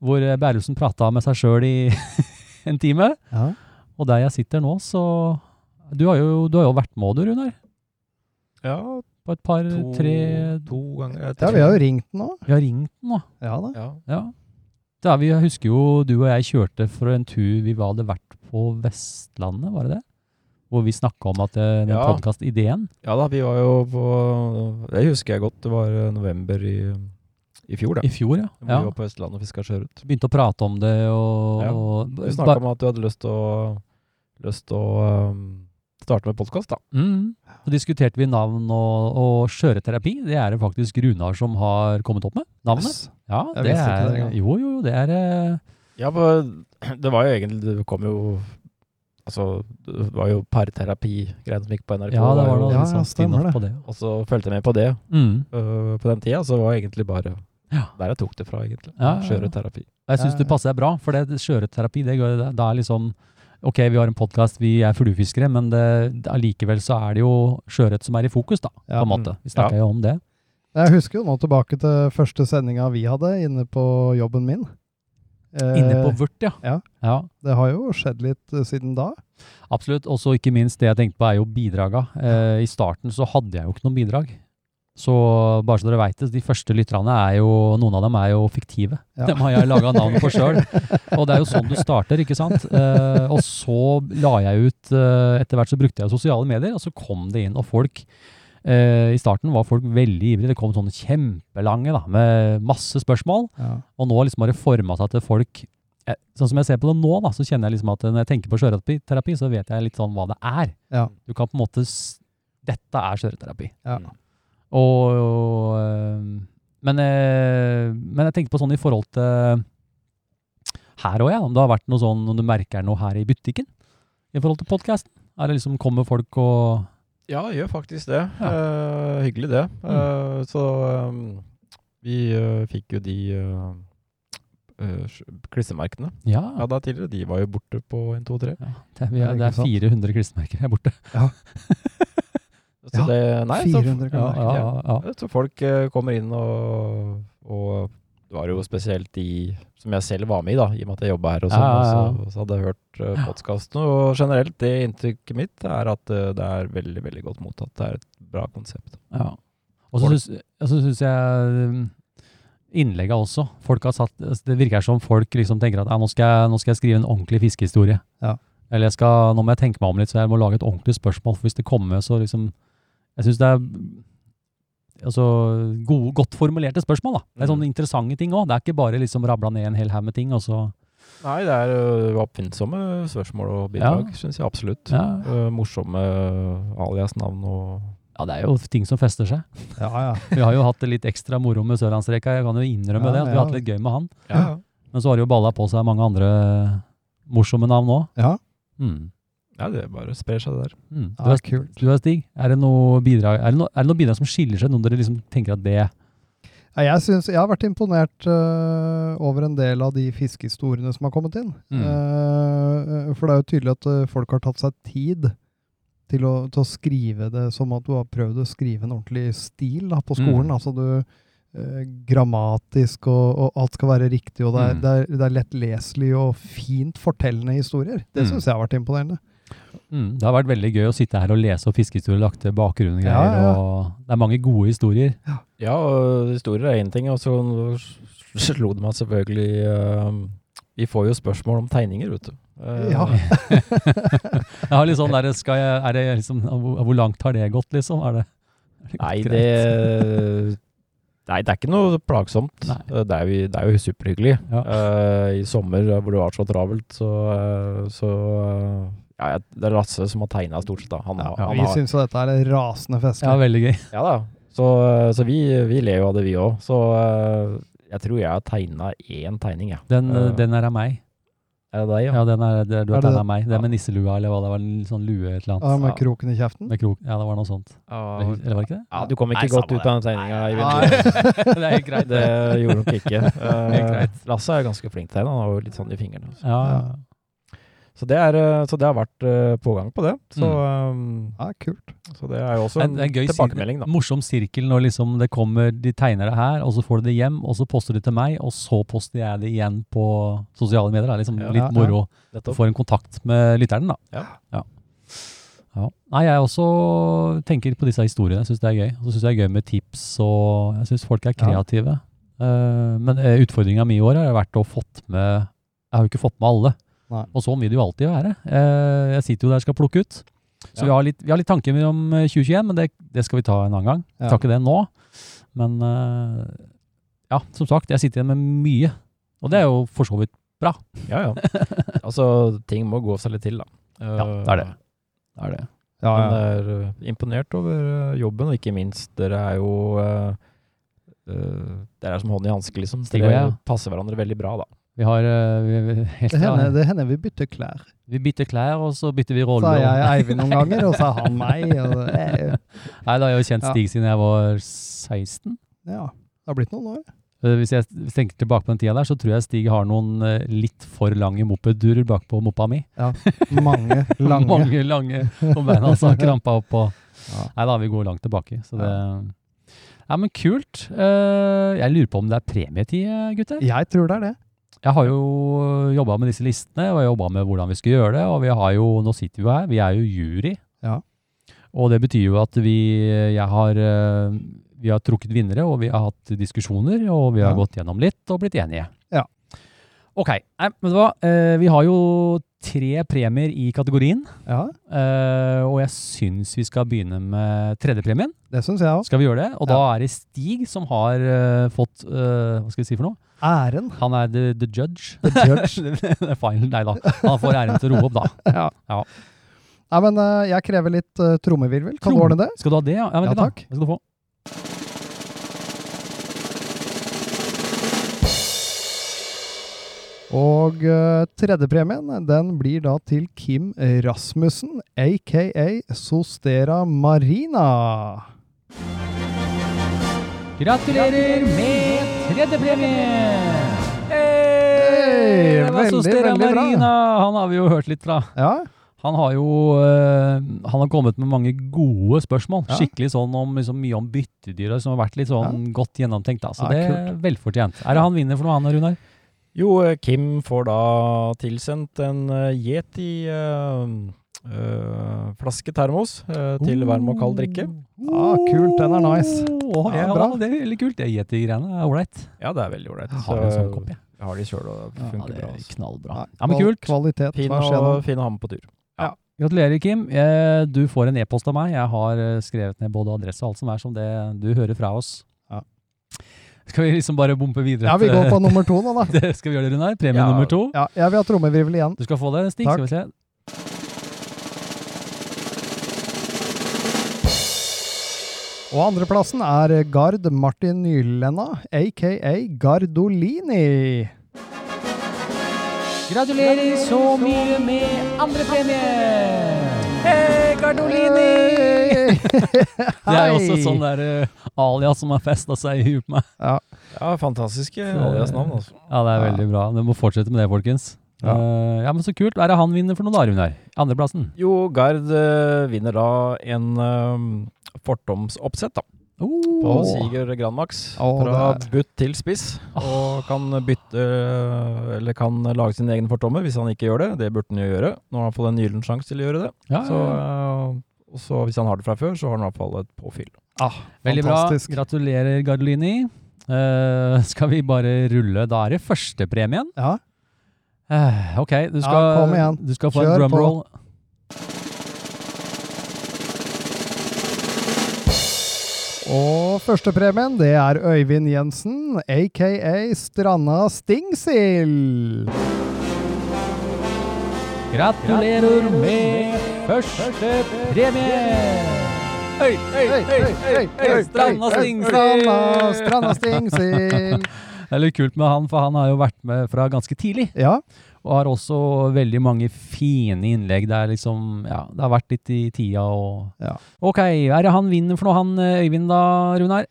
hvor eh, Berlesen prata med seg sjøl i (laughs) en time. Ja. Og der jeg sitter nå, så Du har jo, du har jo vært med, du, Runar. Ja, På et par, to, tre to ganger. eh, ja, tre. vi har jo ringt den òg. Vi har ringt den, da. Ja da. Ja. Ja. Da vi, jeg husker jo du og jeg kjørte for en tur vi hadde vært på Vestlandet, var det det? Hvor vi snakka om at eh, den Ja. podcast-ideen ja da, vi var jo på Det husker jeg godt. Det var eh, november i, i fjor, da. i fjor, ja. Hvor ja. Vi var på Østlandet og fiska sjøørret. Begynte å prate om det og, Ja. og Du ba- snakka om at du hadde lyst til å, lyst til å um, starte med podkast, da. mm, Så diskuterte vi navn og, og skjøreterapi. Det er det faktisk Runar som har kommet opp med. Navnet. Yes. Ja, Jeg det visste ikke er det engang. Jo, jo, jo, det er eh, Ja, men (clears throat) det var jo egentlig Det kom jo Altså, det var jo parterapi-greiene som gikk på NRK. Ja, det var noe jo- litt Ja, ja, sånn spin-off stemmer det. på det. Og så fulgte jeg med på det. Mm. øh, på den tida så var jeg egentlig bare Ja. der jeg tok det fra, egentlig. Ja, ja, ja. Skjøreterapi. Jeg syns Ja, det ja. passer deg bra, for det skjøreterapi, det, går- det er liksom Ok, vi har en podkast, vi er fluefiskere, men det, det, allikevel så er det jo sjøørret som er i fokus, da, Ja. på en måte. Vi snakker jo om det. Jeg husker jo nå tilbake til første sendinga vi hadde inne på jobben min. Eh, Inne på vurt, ja. ja. Det har jo skjedd litt eh, (laughs) siden da. Absolutt. Og så ikke minst det jeg tenkte på, er jo bidraga. Eh, I starten så hadde jeg jo ikke noen bidrag. Så bare så dere veit det, de første lytterne er jo Noen av dem er jo fiktive. Ja. Dem har jeg laga navn (laughs) for sjøl. Og det er jo sånn du starter, ikke sant. Eh, og så la jeg ut eh, Etter hvert så brukte jeg sosiale medier, og så kom det inn, og folk eh, I starten var folk veldig ivrige. Det kom sånne kjempelange da, med masse spørsmål. Ja. Og nå liksom har det forma seg til folk eh, Sånn som jeg ser på det nå, da, så kjenner jeg liksom at når jeg tenker på sjøørretterapi, så vet jeg litt sånn hva det er. Ja. Du kan på en måte s- Dette er sjøørretterapi. Ja. Og, og eh, men, eh, men jeg tenker på sånn i forhold til her òg, ja. Om det har vært noe sånn, om du merker noe her i butikken i forhold til podkasten. Er det liksom kommer folk og Ja, jeg gjør faktisk det. Eh, hyggelig, det. Mm. Eh, så um, vi eh, fikk jo de uh, klissemerkene. Ja, Ja, da tidligere. De var jo borte på en, to, tre. ja det, vi Ja, er, det ikke er sant. 400 klistremerker her borte. Så Ja, det Nei, så 400 Ja, kroner. ja, ja. Jeg tror folk eh, kommer inn og, og Det var jo spesielt de som jeg selv var med i, da, i og med at jeg jobba her. og sånn, Ja, ja, ja. og Så, så hadde jeg hørt uh, podkasten. Og generelt, det inntrykket mitt er at eh, det er veldig veldig godt mottatt. Det er et bra konsept. Ja. Og så syns- og så syns jeg um, innlegget også folk har satt, altså, Det virker som folk liksom tenker at «Ja, nå, skal jeg, nå skal jeg skrive en ordentlig fiskehistorie. Ja. Eller jeg skal, nå må jeg tenke meg om litt, så jeg må lage et ordentlig spørsmål. For hvis det kommer, så liksom Jeg syns det er altså, gode, godt formulerte spørsmål. da. Det er Mm. sånne interessante ting òg. Det er ikke bare liksom rabla ned en hel haug med ting, og så Nei, det er eh, oppfinnsomme spørsmål og bidrag, Ja. synes syns jeg absolutt. ja, Eh, morsomme alias-navn og ja, det er jo ting som fester seg. Ja, ja. Vi har jo hatt det litt ekstra moro med Sørlandsreka. Jeg kan jo innrømme Ja, det. at Vi har ja. hatt litt gøy med han. ja. Men så har det jo balla på seg mange andre morsomme navn òg. ja. Mm. ja, det bare sprer seg, det der. Mm. Du, ja er, kult. du er Stig. Er det noe bidrag, er det noe, er det noe bidrag som skiller seg, noen dere liksom tenker at det Nei, Jeg, synes, jeg har vært imponert øh, over en del av de fiskehistoriene som har kommet inn. Mm. Eh, for det er jo tydelig at øh, folk har tatt seg tid til å, til å skrive det som at du har prøvd å skrive en ordentlig stil da, på skolen. Mm. Altså du eh, Grammatisk, og, og alt skal være riktig, og det er, Mm. det er, det er lettleselig og fint fortellende historier. Det Mm. syns jeg har vært imponerende. Mm, det har vært veldig gøy å sitte her og lese og fiskehistorier lagt til bakgrunnen og Ja, greier. ja. Og det er mange gode historier. Ja, og historier er én ting, og så slo det meg selvfølgelig eh, Vi får jo spørsmål om tegninger, vet du. Eh, Ja. Jeg har litt sånn der, skal jeg, er det liksom, hvor, hvor langt har det gått, liksom? Er det, er det Nei, (laughs) greit? det (laughs) Nei, det er ikke noe plagsomt. Nei. Eh, Det er jo, det er jo superhyggelig. Ja. Eh, I sommer, eh, hvor det var så travelt, så, eh, så eh, ja, jeg- Det er Lasse som har tegna stort sett, da. Han, Ja, han vi har, syns jo dette er rasende festlig. Ja, veldig gøy. ja da. Så, eh, så vi, vi ler jo av det, vi òg. Så eh, jeg tror jeg har tegna én tegning, jeg. Den, Ja. den er av meg. Er det deg, ja? Ja, den er, det, du Er har det tegna det? meg. Det Ja. er med nisselua, eller hva det var, en sånn lue et eller Ja, annet. med Ja. kroken i kjeften. Med krok. Ja, det var noe sånt. Ja, Eller var det ikke det? ja, du kom ikke Nei, godt samme ut av den tegninga, (laughs) Nei. Eivind. (laughs) det er helt greit. Det gjorde nok (laughs) ikke. Eh, Helt greit. Lasse er ganske flink til det. Han har jo litt sånn i fingrene. Ja, Ja. Så det, er, eh, så det har vært eh, pågang på det. Så, eh, Ja, kult. så det er jo også Det er- en, det er Mm. en gøy tilbakemelding, sirkel- da. Morsom sirkel når liksom det kommer, de tegner det her, og så får du det hjem, og så poster du til meg, og så poster jeg det igjen på sosiale medier. Det er liksom Ja. litt moro. Du Nettopp. får en kontakt med lytteren, da. Ja. ja. Ja. Nei, jeg også tenker på disse historiene. Jeg syns det er gøy. Og så syns jeg det er gøy med tips, og jeg syns folk er Ja. kreative. Eh, men utfordringa mi i år har vært å fått med Jeg har jo ikke fått med alle. Nei. Og sånn vil det jo alltid være. Eh, jeg sitter jo der og skal plukke ut. Så Ja. vi, har litt, vi har litt tanker om eh, 2021, men det, det skal vi ta en annen gang. Vi Ja. tar ikke det nå. Men eh, ja, som sagt, jeg sitter igjen med mye. Og det er jo for så vidt Ja, (laughs) ja. Altså, ting må gå seg litt til, da. Ja, det er det. det, er det. Ja, Men ja. jeg er eh, imponert over eh, jobben, og ikke minst, dere er jo eh, eh, Dere er som hånd i hanske, liksom. Stig og Dere jeg. passer hverandre veldig bra, da. Vi har eh, vi, vi, helt, Det hender, det hender vi bytter klær. Vi bytter klær, og så bytter vi Så roller. er jeg (laughs) Eivind noen ganger, og så er han meg. Og det er, Nei, da har jeg jo kjent Ja. Stig siden jeg var 16. ja, det har blitt noen år. Eh, Hvis jeg tenker tilbake på den tida der, så tror jeg Stig har noen eh, litt for lange mopeddurer bakpå moppa mi. (laughs) Mange lange. Mange lange på beina (laughs) som har krampa opp. Og... Ja. Nei da, vi går langt tilbake. Så det Ja, men kult. Eh, Jeg lurer på om det er premietid, eh, gutter? Jeg tror det er det. Jeg har jo jobba med disse listene, og jeg jobba med hvordan vi skal gjøre det. Og vi har jo, nå sitter vi jo her, vi er jo jury. Ja. Og det betyr jo at vi, jeg har, eh, vi har trukket vinnere, og vi har hatt diskusjoner, og vi har Ja. gått gjennom litt og blitt enige. Ja. Ok, nei, men hva, eh, vi har jo tre premier i kategorien, Ja, eh, og jeg syns vi skal begynne med tredjepremien. Det syns jeg òg. Skal vi gjøre det? Og da er det Stig som har eh, fått, eh, hva skal vi si for noe? (laughs) Æren. Han er the, the judge. (laughs) The judge. Det er Final, nei da. Han får æren til å rope opp, da. (laughs) Nei, men eh, jeg krever litt eh, trommevirvel. Kan du Tromme- ordne det? Skal du ha det, ja? Ja, vent Ja, litt, da. takk. Det skal du få. Og eh, tredjepremien den blir da til Kim Rasmussen, aka Sostera Marina. Gratulerer med tredjepremien! Hey, Det var veldig, Sostera veldig bra. Marina. Han har vi jo hørt litt fra. Ja, Han har jo eh, han har kommet med mange gode spørsmål. Ja. Skikkelig sånn om liksom, mye om byttedyr og som har vært litt sånn godt gjennomtenkt. Da. Så Ja, det er velfortjent. Er det han vinner for noe, han Runar? Jo, eh, Kim får da tilsendt en eh, Yeti eh, eh, flaske termos eh, til varm og kald drikke. Ah, kult, den er nice. Oh, ja, Ja, bra. Det er veldig kult. Det yeti-greiene er ålreit. Ja, det er veldig ålreit. Jeg har en sånn kopp, jeg. Jeg har de sjøl, og det funker bra. Altså. knallbra. Nei, Ja, men kval- kult. Kvalitet. Fin Tvers å igjennom. fin å ha med på tur. Gratulerer, Kim. Eh, Du får en e-post av meg. Jeg har eh, skrevet ned både adresse og alt som er, som det du hører fra oss. Ja. Skal vi liksom bare bompe videre? Ja, vi går (laughs) på til- nummer to nå, da. Det skal vi gjøre det, Runar. Premie Ja. nummer to. Ja, jeg vil ha trommevirvel igjen. Du skal få det, Stig. Takk. Skal vi se. Og andreplassen er Gard Martin Nylenna, aka Gardolini. Gratulerer så mye med andre premie! Hei, Gardolini! (laughs) Hey! Det er jo også sånn der eh, alias som har festa seg i huet på meg. Ja. Ja, fantastiske alias-navn, altså. Ja, det er veldig bra. Du må fortsette med det, folkens. Ja. Ja. ja, men så kult. Hva er det han vinner for noe da, Runar? Andreplassen? Jo, Gard eh, vinner da en eh, fortomsoppsett, da. På Oh. Siger Granmax. Å, fra det butt til spiss. Og kan bytte Eller kan lage sin egen fortommer hvis han ikke gjør det. Det burde han jo gjøre. Nå har han fått en gyllen sjanse til å gjøre det. Ah, Ja, Så, eh, og så hvis han har det fra før, så har han i hvert fall et påfyll. Veldig eh, Fantastisk. bra. Gratulerer, Gardolini. Eh, skal vi bare rulle? Da er det førstepremien. Ja. Eh, ok, du skal, Ja, kom igjen. Du skal få Kjør en på. drumroll. Og førstepremien, det er Øyvind Jensen, aka Stranda Stingsild. Gratulerer med førstepremie! Hei, hei, Hei, hei, hei, hei, Stranda hei, Stingsild! Stranda, Stranda Stingsild! Det er litt kult med han, for han har jo vært med fra ganske tidlig. Ja, Og har også veldig mange fine innlegg der liksom Ja, det har vært litt i tida og Ja. Ok, er det han vinner for noe, han eh, Øyvind da, Runar?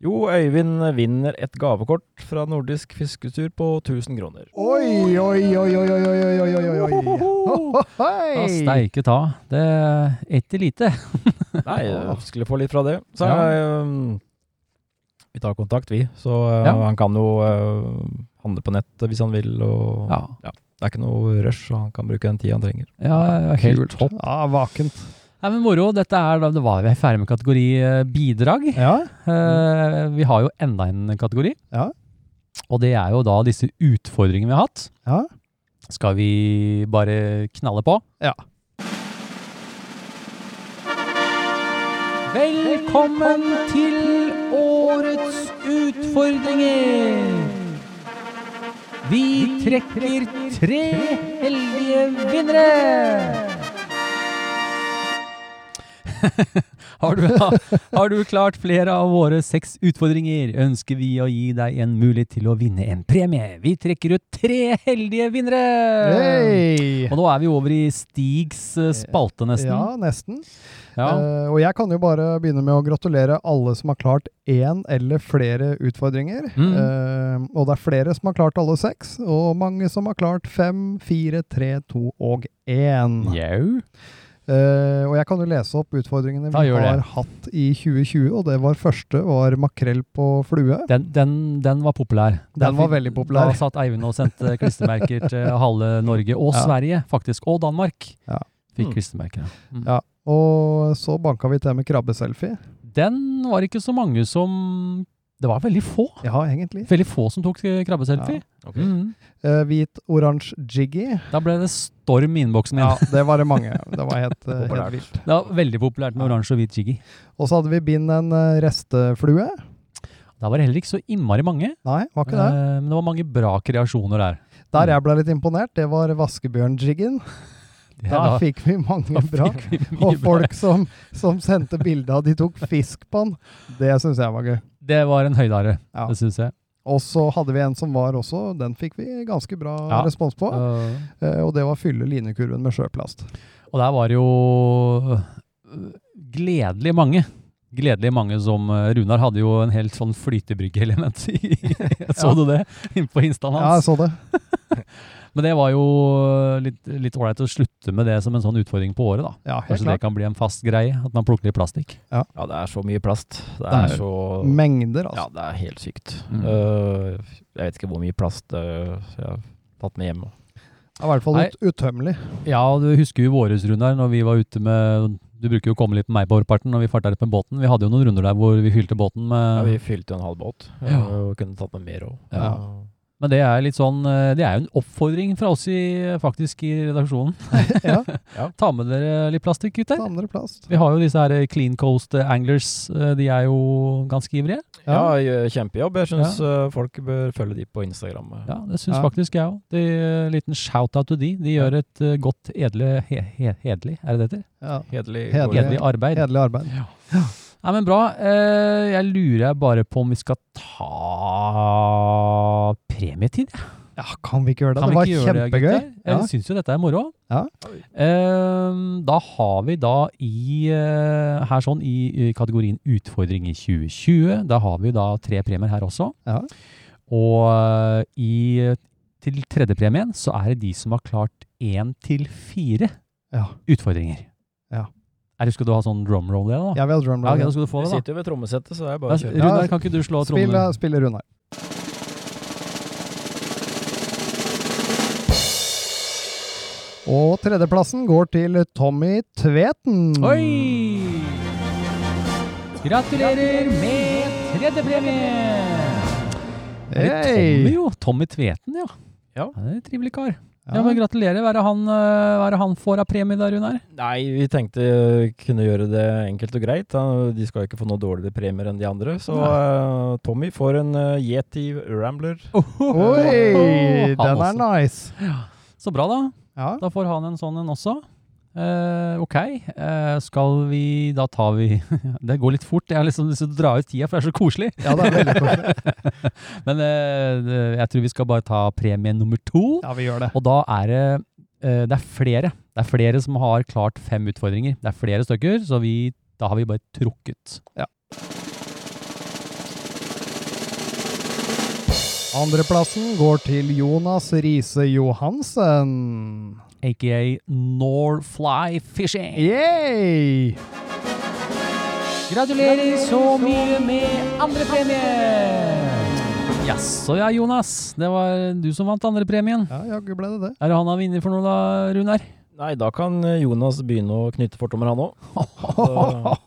Jo, Øyvind vinner et gavekort fra nordisk fisketur på 1000 (laughs) kroner. Oi, oi, oi, oi, oi, oi, oi, oi, oi, oi. Ho, ho, Ja, hei. steike ta. Det er ikke lite. Nei, jeg skulle få litt fra det. Så Ja. eh, vi tar kontakt, vi. Så eh, Ja. han kan jo eh, handle på nett hvis han vil. Og Ja, Det er ikke noe rush, og han kan bruke den tida han trenger. ja helt topp. Ja, vakent. Nei, men moro. Dette er da Det var vi er ferdig med kategori eh, bidrag. Ja, Eh, vi har jo enda en kategori. Ja. Og det er jo da disse utfordringene vi har hatt. ja. Skal vi bare knalle på? Ja. Velkommen til årets utfordringer! Vi trekker tre heldige vinnere! (laughs) Har du, har du klart flere av våre seks utfordringer, ønsker vi å gi deg en mulighet til å vinne en premie. Vi trekker ut tre heldige vinnere! Hei. Og nå er vi over i Stigs eh, spalte, Ja, nesten. nesten. Ja. Eh, og jeg kan jo bare begynne med å gratulere alle som har klart én eller flere utfordringer. Mm. Eh, og det er flere som har klart alle seks, og mange som har klart fem, fire, tre, to og én. Jau. Eh, og jeg kan jo lese opp utfordringene Ja, vi gjør har det. hatt i 2020, og det var første var makrell på flue. Den, den, den var populær. Den var veldig populær. Da satt Eivind og sendte klistremerker til halve Norge, og (laughs) Ja. Sverige faktisk, og Danmark. Ja. Fikk Mm. klistremerker. ja. Mm. Ja. Og så banka vi til med krabbeselfie. Den var ikke så mange som Det var veldig få. Ja, egentlig. Veldig få som tok eh, krabbeselfie. Mm. Eh, hvit oransje jiggy. Da ble det storm i innboksen Ja, din. det var det mange. Det var helt, eh, helt Populært. vilt. Det var veldig populært med Ja. oransje og hvit jiggy. Og så hadde vi bind en eh, resteflue. Da var det heller ikke så innmari mange, Nei, var ikke det. eh, men det var mange bra kreasjoner der. Der jeg ble litt imponert, det var (laughs) vaskebjørnjiggen. Det Der da- fikk vi da mange bra. fikk vi mye Og bra. folk som, som sendte bilde av de tok fisk på den. Det syns jeg var gøy. Det var en høydare, Ja. det syns jeg. Og så hadde vi en som var også, den fikk vi ganske bra Ja. respons på. Eh, eh, Og det var fylle linekurven med sjøplast. Og der var det jo øh, gledelig mange. Gledelig mange som øh, Runar hadde jo en helt sånn flytebryggeelement i. (laughs) Så du det (laughs) inne på instaen Ja, jeg hans? så det. Men det var jo øh, litt litt ålreit å slutte med det som en sånn utfordring på året, da. Ja, helt Kanskje det klart. kan bli en fast greie, at man plukker litt plastikk. Ja, det er så mye plast. Det er, er så Mengder, Ja, altså. det er helt sykt. Mm. Eh, jeg vet ikke hvor mye plast eh, jeg har tatt med hjem. Det er I hvert fall Nei. ut, utømmelig. Ja, og du husker jo våres, Runar, når vi var ute med Du bruker jo å komme litt med meg på vårparten når vi farta litt med båten. Vi hadde jo noen runder der hvor vi fylte båten Ja, med vi fylte jo en halv båt. eh, Ja. Og kunne tatt med mer òg. Ja. Men det er litt sånn eh, Det er jo en oppfordring fra oss i, faktisk i redaksjonen. (laughs) (laughs) Ja. Ja. Ta med dere litt plastikk, gutter. Andre plast. Vi har jo disse her eh, Clean Coast eh, Anglers. eh, De er jo ganske ivrige. Ja, Ja. gjør kjempejobb. Jeg syns folk bør følge de på Instagram. eh. Ja, Det syns Ja. faktisk jeg òg. Liten shout-out til de. De gjør et eh, godt, edle he, he, Hedelig, er det det heter? Ja. Hederlig. Hederlig. gård. Hedelig arbeid. Hederlig arbeid. Nei, men bra. Eh, Jeg lurer bare på om vi skal ta premietid, jeg. Ja, kan vi ikke gjøre det? Kan det vi var ikke gjøre det, kjempegøy. gutter? Jeg Ja. syns jo dette er moro. Ja. Ehm, da har vi da i eh, her sånn i eh, kategorien utfordring i 2020, da har vi jo da tre premier her også. Ja. Og eh, i til tredjepremien så er det de som har klart én til fire Ja. utfordringer. Ja. Er det, skal du ha sånn drumroll det da? Jeg vil ha drum Ja, ok, da roll. skal du få Vi det da. sitter jo ved trommesettet, så det Ja, er bare å kjøre. Runar, kan ikke du slå Spill, trommene? spiller Runar. Og tredjeplassen går til Tommy Tveten. Oi! Gratulerer med tredjepremie! Eller Tommy, Hey. jo. Tommy Tveten, ja. Ja. det er en Trivelig kar. Ja. Ja. men Gratulerer. Hva er det han, eh, hva er det han får av premie der, Runar? Nei, vi tenkte eh, kunne gjøre det enkelt og greit. da. De skal jo ikke få noe dårligere premier enn de andre. Så eh, Tommy får en eh, Yeti Rambler. Oi, den er også. nice. Så bra, da. Ja. Da får han en sånn en også. Eh, ok, eh, skal vi Da tar vi (laughs) Det går litt fort. Jeg har liksom lyst til å dra ut tida, for det er så koselig. ja, det er veldig koselig. (laughs) Men eh, det- jeg tror vi skal bare ta premie nummer to. Ja, vi gjør det. Og da er det eh, Det er flere. Det er flere som har klart fem utfordringer. Det er flere stykker, så vi, da har vi bare trukket. Andreplassen går til Jonas Riise Johansen. Aka Norfly Fishing. Yay! Gratulerer så mye med andrepremie! Jaså ja, Jonas. Det var du som vant andrepremien. Ja, jaggu ble det det. Er det han har vunnet for noe da, Runar? Nei, da kan eh, Jonas begynne å knytte fortommer, han òg.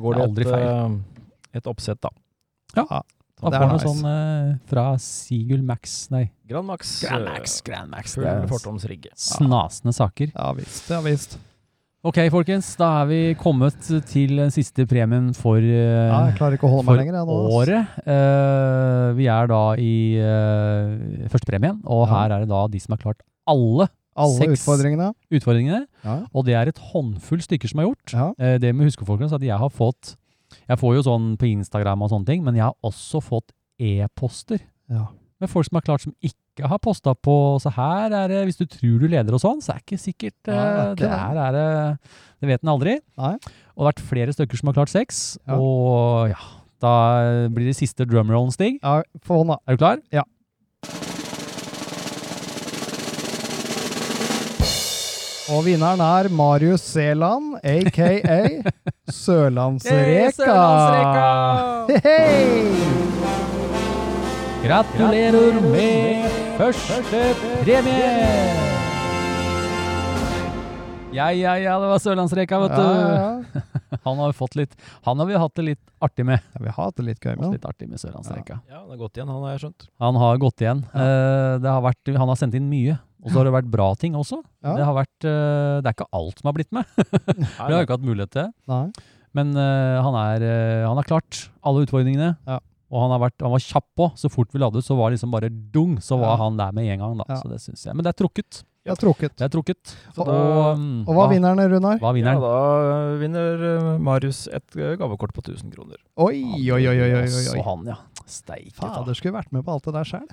Det går det er aldri et, eh, et oppsett, da. Da Det får er han noe nice. sånn eh, fra Sigul Max, nei. Grand Max. eh, Grand Max. Full fortomsrigge. Snasende saker. Ja visst, ja visst. Ok, folkens. Da er vi kommet til den siste premien for eh, Ja, jeg klarer ikke å holde meg for lenger. jeg nå, ass. året. Eh, vi er da i eh, førstepremien, og Ja. her er det da de som har klart alle Alle seks. utfordringene. utfordringene. Ja. Og det er et håndfull stykker som har gjort. Ja. Eh, Det må huske folkens at jeg har fått Jeg får jo sånn på Instagram og sånne ting, men jeg har også fått e-poster Ja. med folk som har klart som ikke har posta på Så her er det Hvis du tror du leder og sånn, så er det ikke sikkert. Nei, det eh, er det ikke det. her er det Det vet en aldri. Nei. Og det har vært flere stykker som har klart seks. Ja. Og ja Da blir det siste drumrollen, Stig. ja, Få hånda. Er du klar? Ja. Og vinneren er Marius Seland, (laughs) aka Sørlandsreka. (laughs) Hei! Gratulerer med første premie! Ja, ja, ja, det var Sørlandsreka, vet du. Ja, eh, ja. Han har jo fått litt Han har vi hatt det litt artig med. Ja, vi har hatt det litt gøy med den. Litt artig med Sørlandsreka. Ja, det er godt igjen, han har jeg skjønt. Han har gått igjen. Eh, Det har vært, han har sendt inn mye. Og så har det vært bra ting også. Ja. Det, har vært, eh, det er ikke alt som har blitt med. Vi har jo ikke hatt mulighet til det. Nei. Men eh, han, er, eh, han har klart alle utfordringene. Ja. Og han, har vært, han var kjapp på. Så fort vi la det ut, så var det liksom bare dung, så var Ja. han der med en gang. da. Ja. Så det synes jeg. Men det er trukket. Jeg har trukket. Det er trukket. Og- mm, Og hva er vinnerne, Runar? hva er Ja, vinneren? da eh, vinner eh, Marius et eh, gavekort på 1000 kroner. Oi, oi, oi, oi, oi, oi, Også oi. han, ja. Steike ta. Fader, skulle vært med på alt det der sjøl.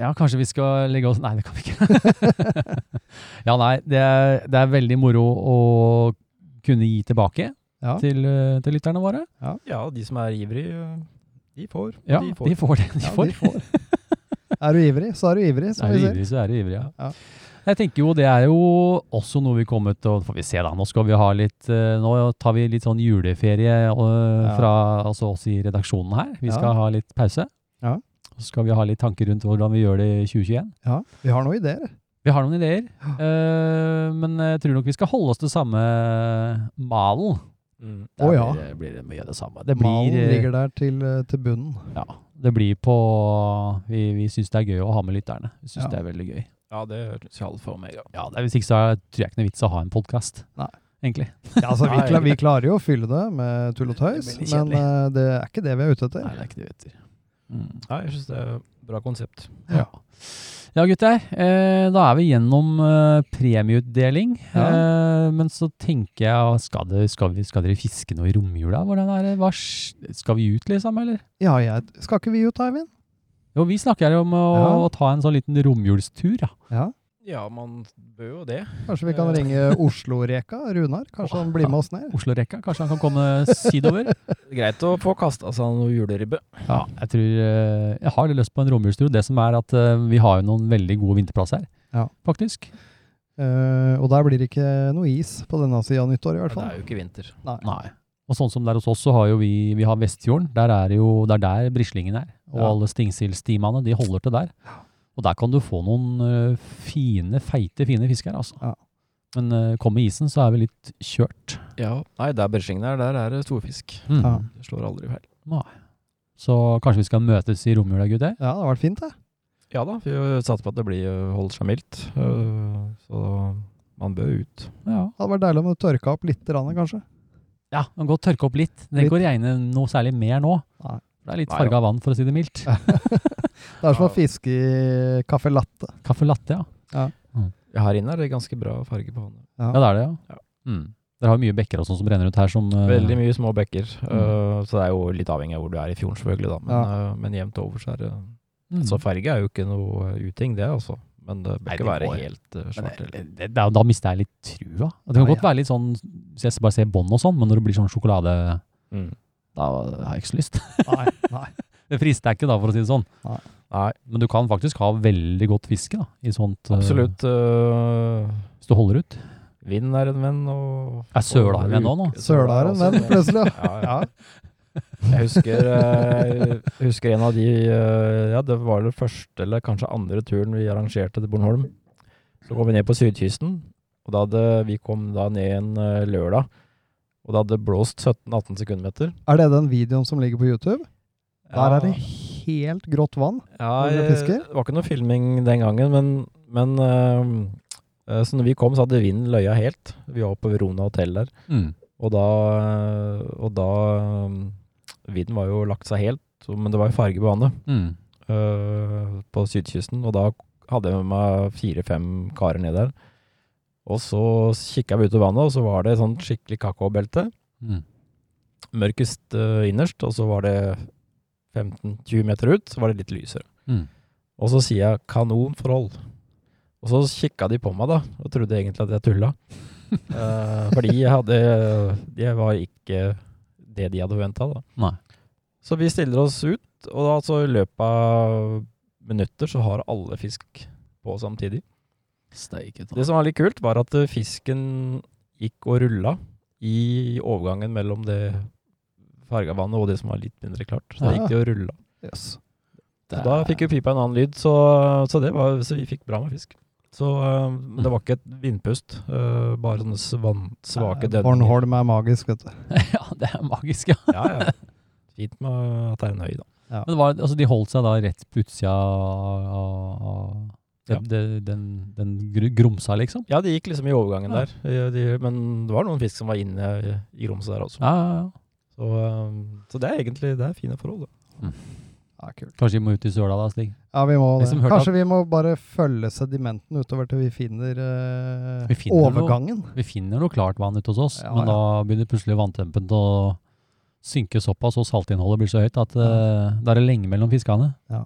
Ja, kanskje vi skal legge oss Nei, det kan vi ikke. (laughs) ja, nei. Det er, det er veldig moro å kunne gi tilbake Ja. til, eh, til lytterne våre. Ja, de som er ivrig, eh, de får. Ja, de får. de får det de Ja, får. de får. Er du ivrig, så er du ivrig, (laughs) som Er vi du sier. ivrig, så er du ivrig, ja. Ja. Jeg tenker jo det er jo også noe vi kommer til å Får vi se, da. Nå skal vi ha litt eh, Nå tar vi litt sånn juleferie eh, Ja. fra altså oss i redaksjonen her. Vi Ja. skal ha litt pause. Ja. Så skal vi ha litt tanker rundt hvordan vi gjør det i 2021. Ja, vi har noen ideer. Vi har noen (gasps) ideer, eh, men jeg tror nok vi skal holde oss til samme malen. Mm. Der Å, ja. blir, det- blir det mye av det samme. Det blir, Malen eh, ligger der til, eh, til bunnen. ja, det blir på Vi, vi syns det er gøy å ha med lytterne. Vi syns Ja. det er veldig gøy. Ja, det høres i alle fall meg, ja. Ja, det er Hvis ikke så er- tror jeg ikke det er vits å ha en podkast. Nei. Egentlig. Ja, altså, vi, Nei. kla- vi klarer jo å fylle det med tull og tøys, Det blir litt men eh, det er ikke det vi er ute etter. Nei, det er ikke det vi heter. Mm. Nei, jeg syns det er et bra konsept. Ja. ja, gutter. Eh, da er vi gjennom eh, premieutdeling. Eh, men så tenker jeg ah, skal, det, skal, vi, skal dere fiske noe i romjula? Hvordan er det? Hva, s- skal vi ut, liksom? Eller? Ja, jeg, skal ikke vi ut, Eivind? Jo, vi snakker om å Ja. ta en sånn liten romjulstur, ja. Ja. Ja, man bør jo det. Kanskje vi kan Eh. ringe Oslo-Reka, Runar? Kanskje han blir med oss ned? Oslo-rekka. Kanskje han kan komme (laughs) sydover? Greit å få kasta seg noe juleribbe. Ja, jeg tror eh, Jeg har litt lyst på en romjulstur. Det som er at eh, vi har jo noen veldig gode vinterplasser her, Ja. faktisk. (laughs) Eh, og der blir det ikke noe is på denne sida av nyttår, i hvert Det fall. er jo ikke vinter. Nei. Og sånn som der hos oss, så har jo vi, vi har Vestfjorden. Der er jo, det er der brislingen er. Og Ja. alle stingsildstimanene, de holder til der. Og der kan du få noen ø, fine, feite, fine fisker, altså. Ja. Men ø, kom med isen, så er vi litt kjørt. Ja, Nei, der Bersingen er, der er det storfisk. Mm. Ja. Det slår aldri feil. Så kanskje vi skal møtes i romjula, gutter? Ja, det har vært fint, det. Ja da, vi satser på at det blir, eh, holder seg mildt. øh, Så man bør ut. Ja. Det hadde vært deilig om det tørka opp litt, rann, kanskje. Ja, man kan godt tørke opp litt. Det Litt. går regne noe særlig mer nå. Nei. Det er litt Nei, farga vann, for å si det mildt. Det er som Ja. å fiske i caffè latte. Kaffe latte, ja. Ja, Her inne er det ganske bra farge på vannet. Ja, det er det, ja. Ja. Mm. Dere har jo mye bekker og sånn som renner ut her som ø, Veldig mye små bekker, øh, så det er jo litt avhengig av hvor du er i fjorden, selvfølgelig, da. Men, øh, men jevnt over så er det mm. Så farge er jo ikke noe øh, uting, det, altså. Men det bør Nei, ikke det være går. helt Men øh, svart. det, eller- det, det, er jo- da mister jeg litt trua. Og Det kan Ja, godt være litt sånn, så jeg bare ser bånd og sånn, men når det blir sånn sjokolade, Mm. da har jeg ikke så lyst. (laughs) Nei, nei. Det frister jeg ikke da, for å si det sånn. Nei, Men du kan faktisk ha veldig godt fiske da, i sånt. eh, absolutt. øh, Hvis du holder ut. Vind er en venn, og Er søla en venn nå, nå? Søla er en også venn, plutselig. ja. Ja, ja. Ja. Jeg husker, eh, jeg husker en av de eh, Ja, det var det første eller kanskje andre turen vi arrangerte til Bornholm. Så kom vi ned på sydkysten, og da hadde, vi kom da ned en eh, lørdag. Og det hadde blåst 17-18 sekundmeter. Er det den videoen som ligger på YouTube? Der Ja, er det helt grått vann. ja, hvor dere jeg- fisker? Det var ikke noe filming den gangen, men, men eh, eh, Så når vi kom, så hadde vinden løya helt. Vi var oppe ved Rona hotell der. Mm. Og da, og da eh, Vinden var jo lagt seg helt, så- men det var jo farge på vannet. Mm. øh, på sydkysten, og da hadde jeg med meg fire-fem karer ned der. Og så kikka vi ut i vannet, og så var det sånn skikkelig kakaobelte. Mm. Mørkest øh, innerst, og så var det 15-20 meter ut, så var det litt lysere. Mm. Og så sier jeg 'kanonforhold'. Og så kikka de på meg, da, og trodde egentlig at jeg tulla. Eh, fordi jeg hadde Det var ikke det de hadde forventa, da. Nei. Så vi stiller oss ut, og da, altså, i løpet av minutter så har alle fisk på samtidig. (laughs) Steiket. Det som var litt kult, var at eh, fisken gikk og rulla i overgangen mellom det farga vannet og det som var litt mindre klart. Så det Ja. gikk det og rulla. Yes. Så Da fikk vi pipa en annen lyd, så, så, det var, så vi fikk bra med fisk. Så, eh, men det var ikke et vindpust, eh, bare sånne svan, svake Eh, dønninger. Bornholm er magisk, vet du. Ja, det er magisk, ja. Ja, ja. Fint med at det er en høy, da. Men det var, altså, de holdt seg da rett på utsida av av- Ja. det- det- den, den gru- grumsa, liksom. Ja, de gikk liksom i overgangen der. De, men det var noen fisk som var inne i, i rommet der også. Ja, ja, ja. Så, um, så det er egentlig det er fine forhold. Da. Ja, kult. Kanskje vi må ut i søla da, Stig? Ja, vi må Vi det. som hørte Kanskje vi må bare følge sedimenten utover til vi finner, eh, Vi finner noe. overgangen. Vi finner noe klart vann ute hos oss, Ja, men ja. da begynner plutselig vanntempen til å synke såpass, og saltinnholdet blir så høyt at eh, det er lenge mellom fiskene. Ja.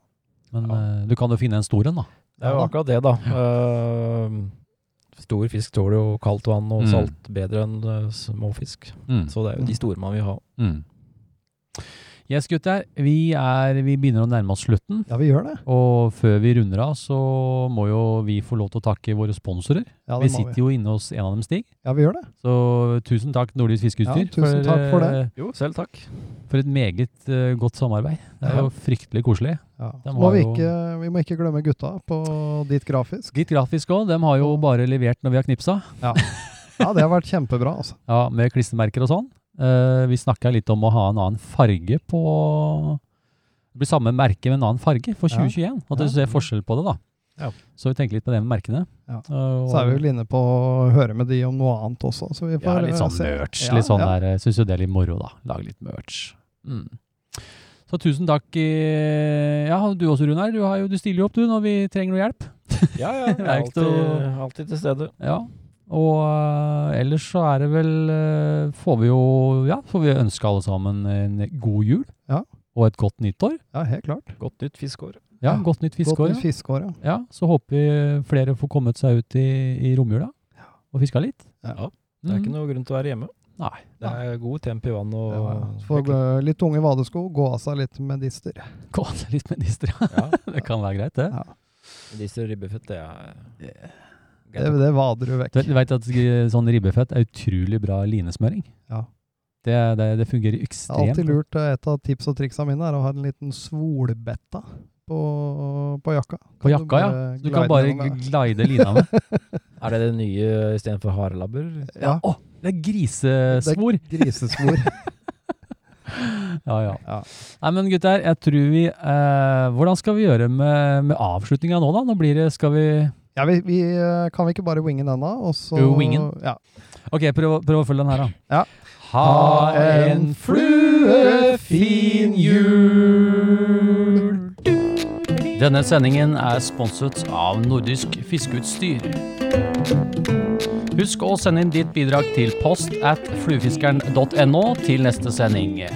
Men Ja. eh, du kan jo finne en stor en, da. Det er jo Ja. akkurat det, da. Um, stor fisk tåler jo kaldt vann og Mm. salt bedre enn uh, små fisk. Så det er jo de store man vil ha. Mm. Yes, gutter. Vi, er, vi begynner å nærme oss slutten. Ja, vi gjør det. Og før vi runder av, så må jo vi få lov til å takke våre sponsorer. Ja, vi det må sitter vi. jo inne hos en av dem, Stig. Ja, vi gjør det. Så tusen takk, Nordlys Fiskeutstyr, Ja, tusen takk for det. eh, Jo, selv takk. for et meget eh, godt samarbeid. Det er Ja. jo fryktelig koselig. Ja. De har Så må vi, jo- ikke, vi må ikke glemme gutta på ditt grafisk. Gitt grafisk òg, de har jo bare levert når vi har knipsa. Ja, det har vært kjempebra, (laughs) altså. Ja, med klistremerker og sånn. Eh, vi snakka litt om å ha en annen farge på Det blir samme merke med en annen farge for Ja. 2021. At du Ja. ser forskjell på det, da. Ja. Så vi tenker litt på det med merkene. Ja. Eh, og- Så er vi vel inne på å høre med de om noe annet også. Så vi får ja, litt eh, sånn se. merch. Ja, litt sånn ja. der, eh, Syns jo det er litt moro, da. Lage litt merch. Mm. Så tusen takk. eh, Ja, du også, Runar. Du, har jo, du stiller jo opp, du, når vi trenger noe hjelp. Ja, (laughs) ja. Jeg Det er er ikke alltid, noe- alltid til stede. Ja. Og eh, ellers så er det vel eh, Får vi jo Ja, får vi ønske alle sammen en god jul. Ja. Og et godt nyttår. Ja, helt klart. Godt nytt fiskeår. Ja, Ja, Godt nytt fiskeår. Godt ja. fiskeår, ja. Ja, så håper vi flere får kommet seg ut i, i romjula og fiska litt. Mm. Ja, Det er ikke noe grunn til å være hjemme. Nei. Det er god temp i vann og ja. Få gå- litt tunge vadesko, gå av seg litt medister. Gå seg litt med distra. Ja, (laughs) Det kan være greit, det. Ja. Disse ribbefett, det (laughs) er Det, det vader du Du vekk. vet- Du veit at sånn ribbefett er utrolig bra linesmøring? Ja. Det, det, det fungerer Det er ekstremt alltid lurt. eh, Et av tips og triksa mine er å ha en liten svolbetta på, på jakka. på jakka, ja. Så bare Du kan glide bare gjennom der. glide lina (laughs) med. Er det det nye istedenfor harelabber? Ja. Å, det er grisespor! (laughs) Grisesvor. Ja, ja. Ja. Nei, men gutter, jeg tror vi eh, Hvordan skal vi gjøre med, med avslutninga nå, da? Nå blir det Skal vi Ja, vi, vi, eh, kan vi ikke bare winge den da? Og så, Jo, wingen. Ja. OK, prøv, prøv å følge den her, da. Ja. Ha en fluefin jul! Denne sendingen er sponset av Nordisk Fiskeutstyr. Husk å sende inn ditt bidrag til post at fluefiskeren.no til neste sending.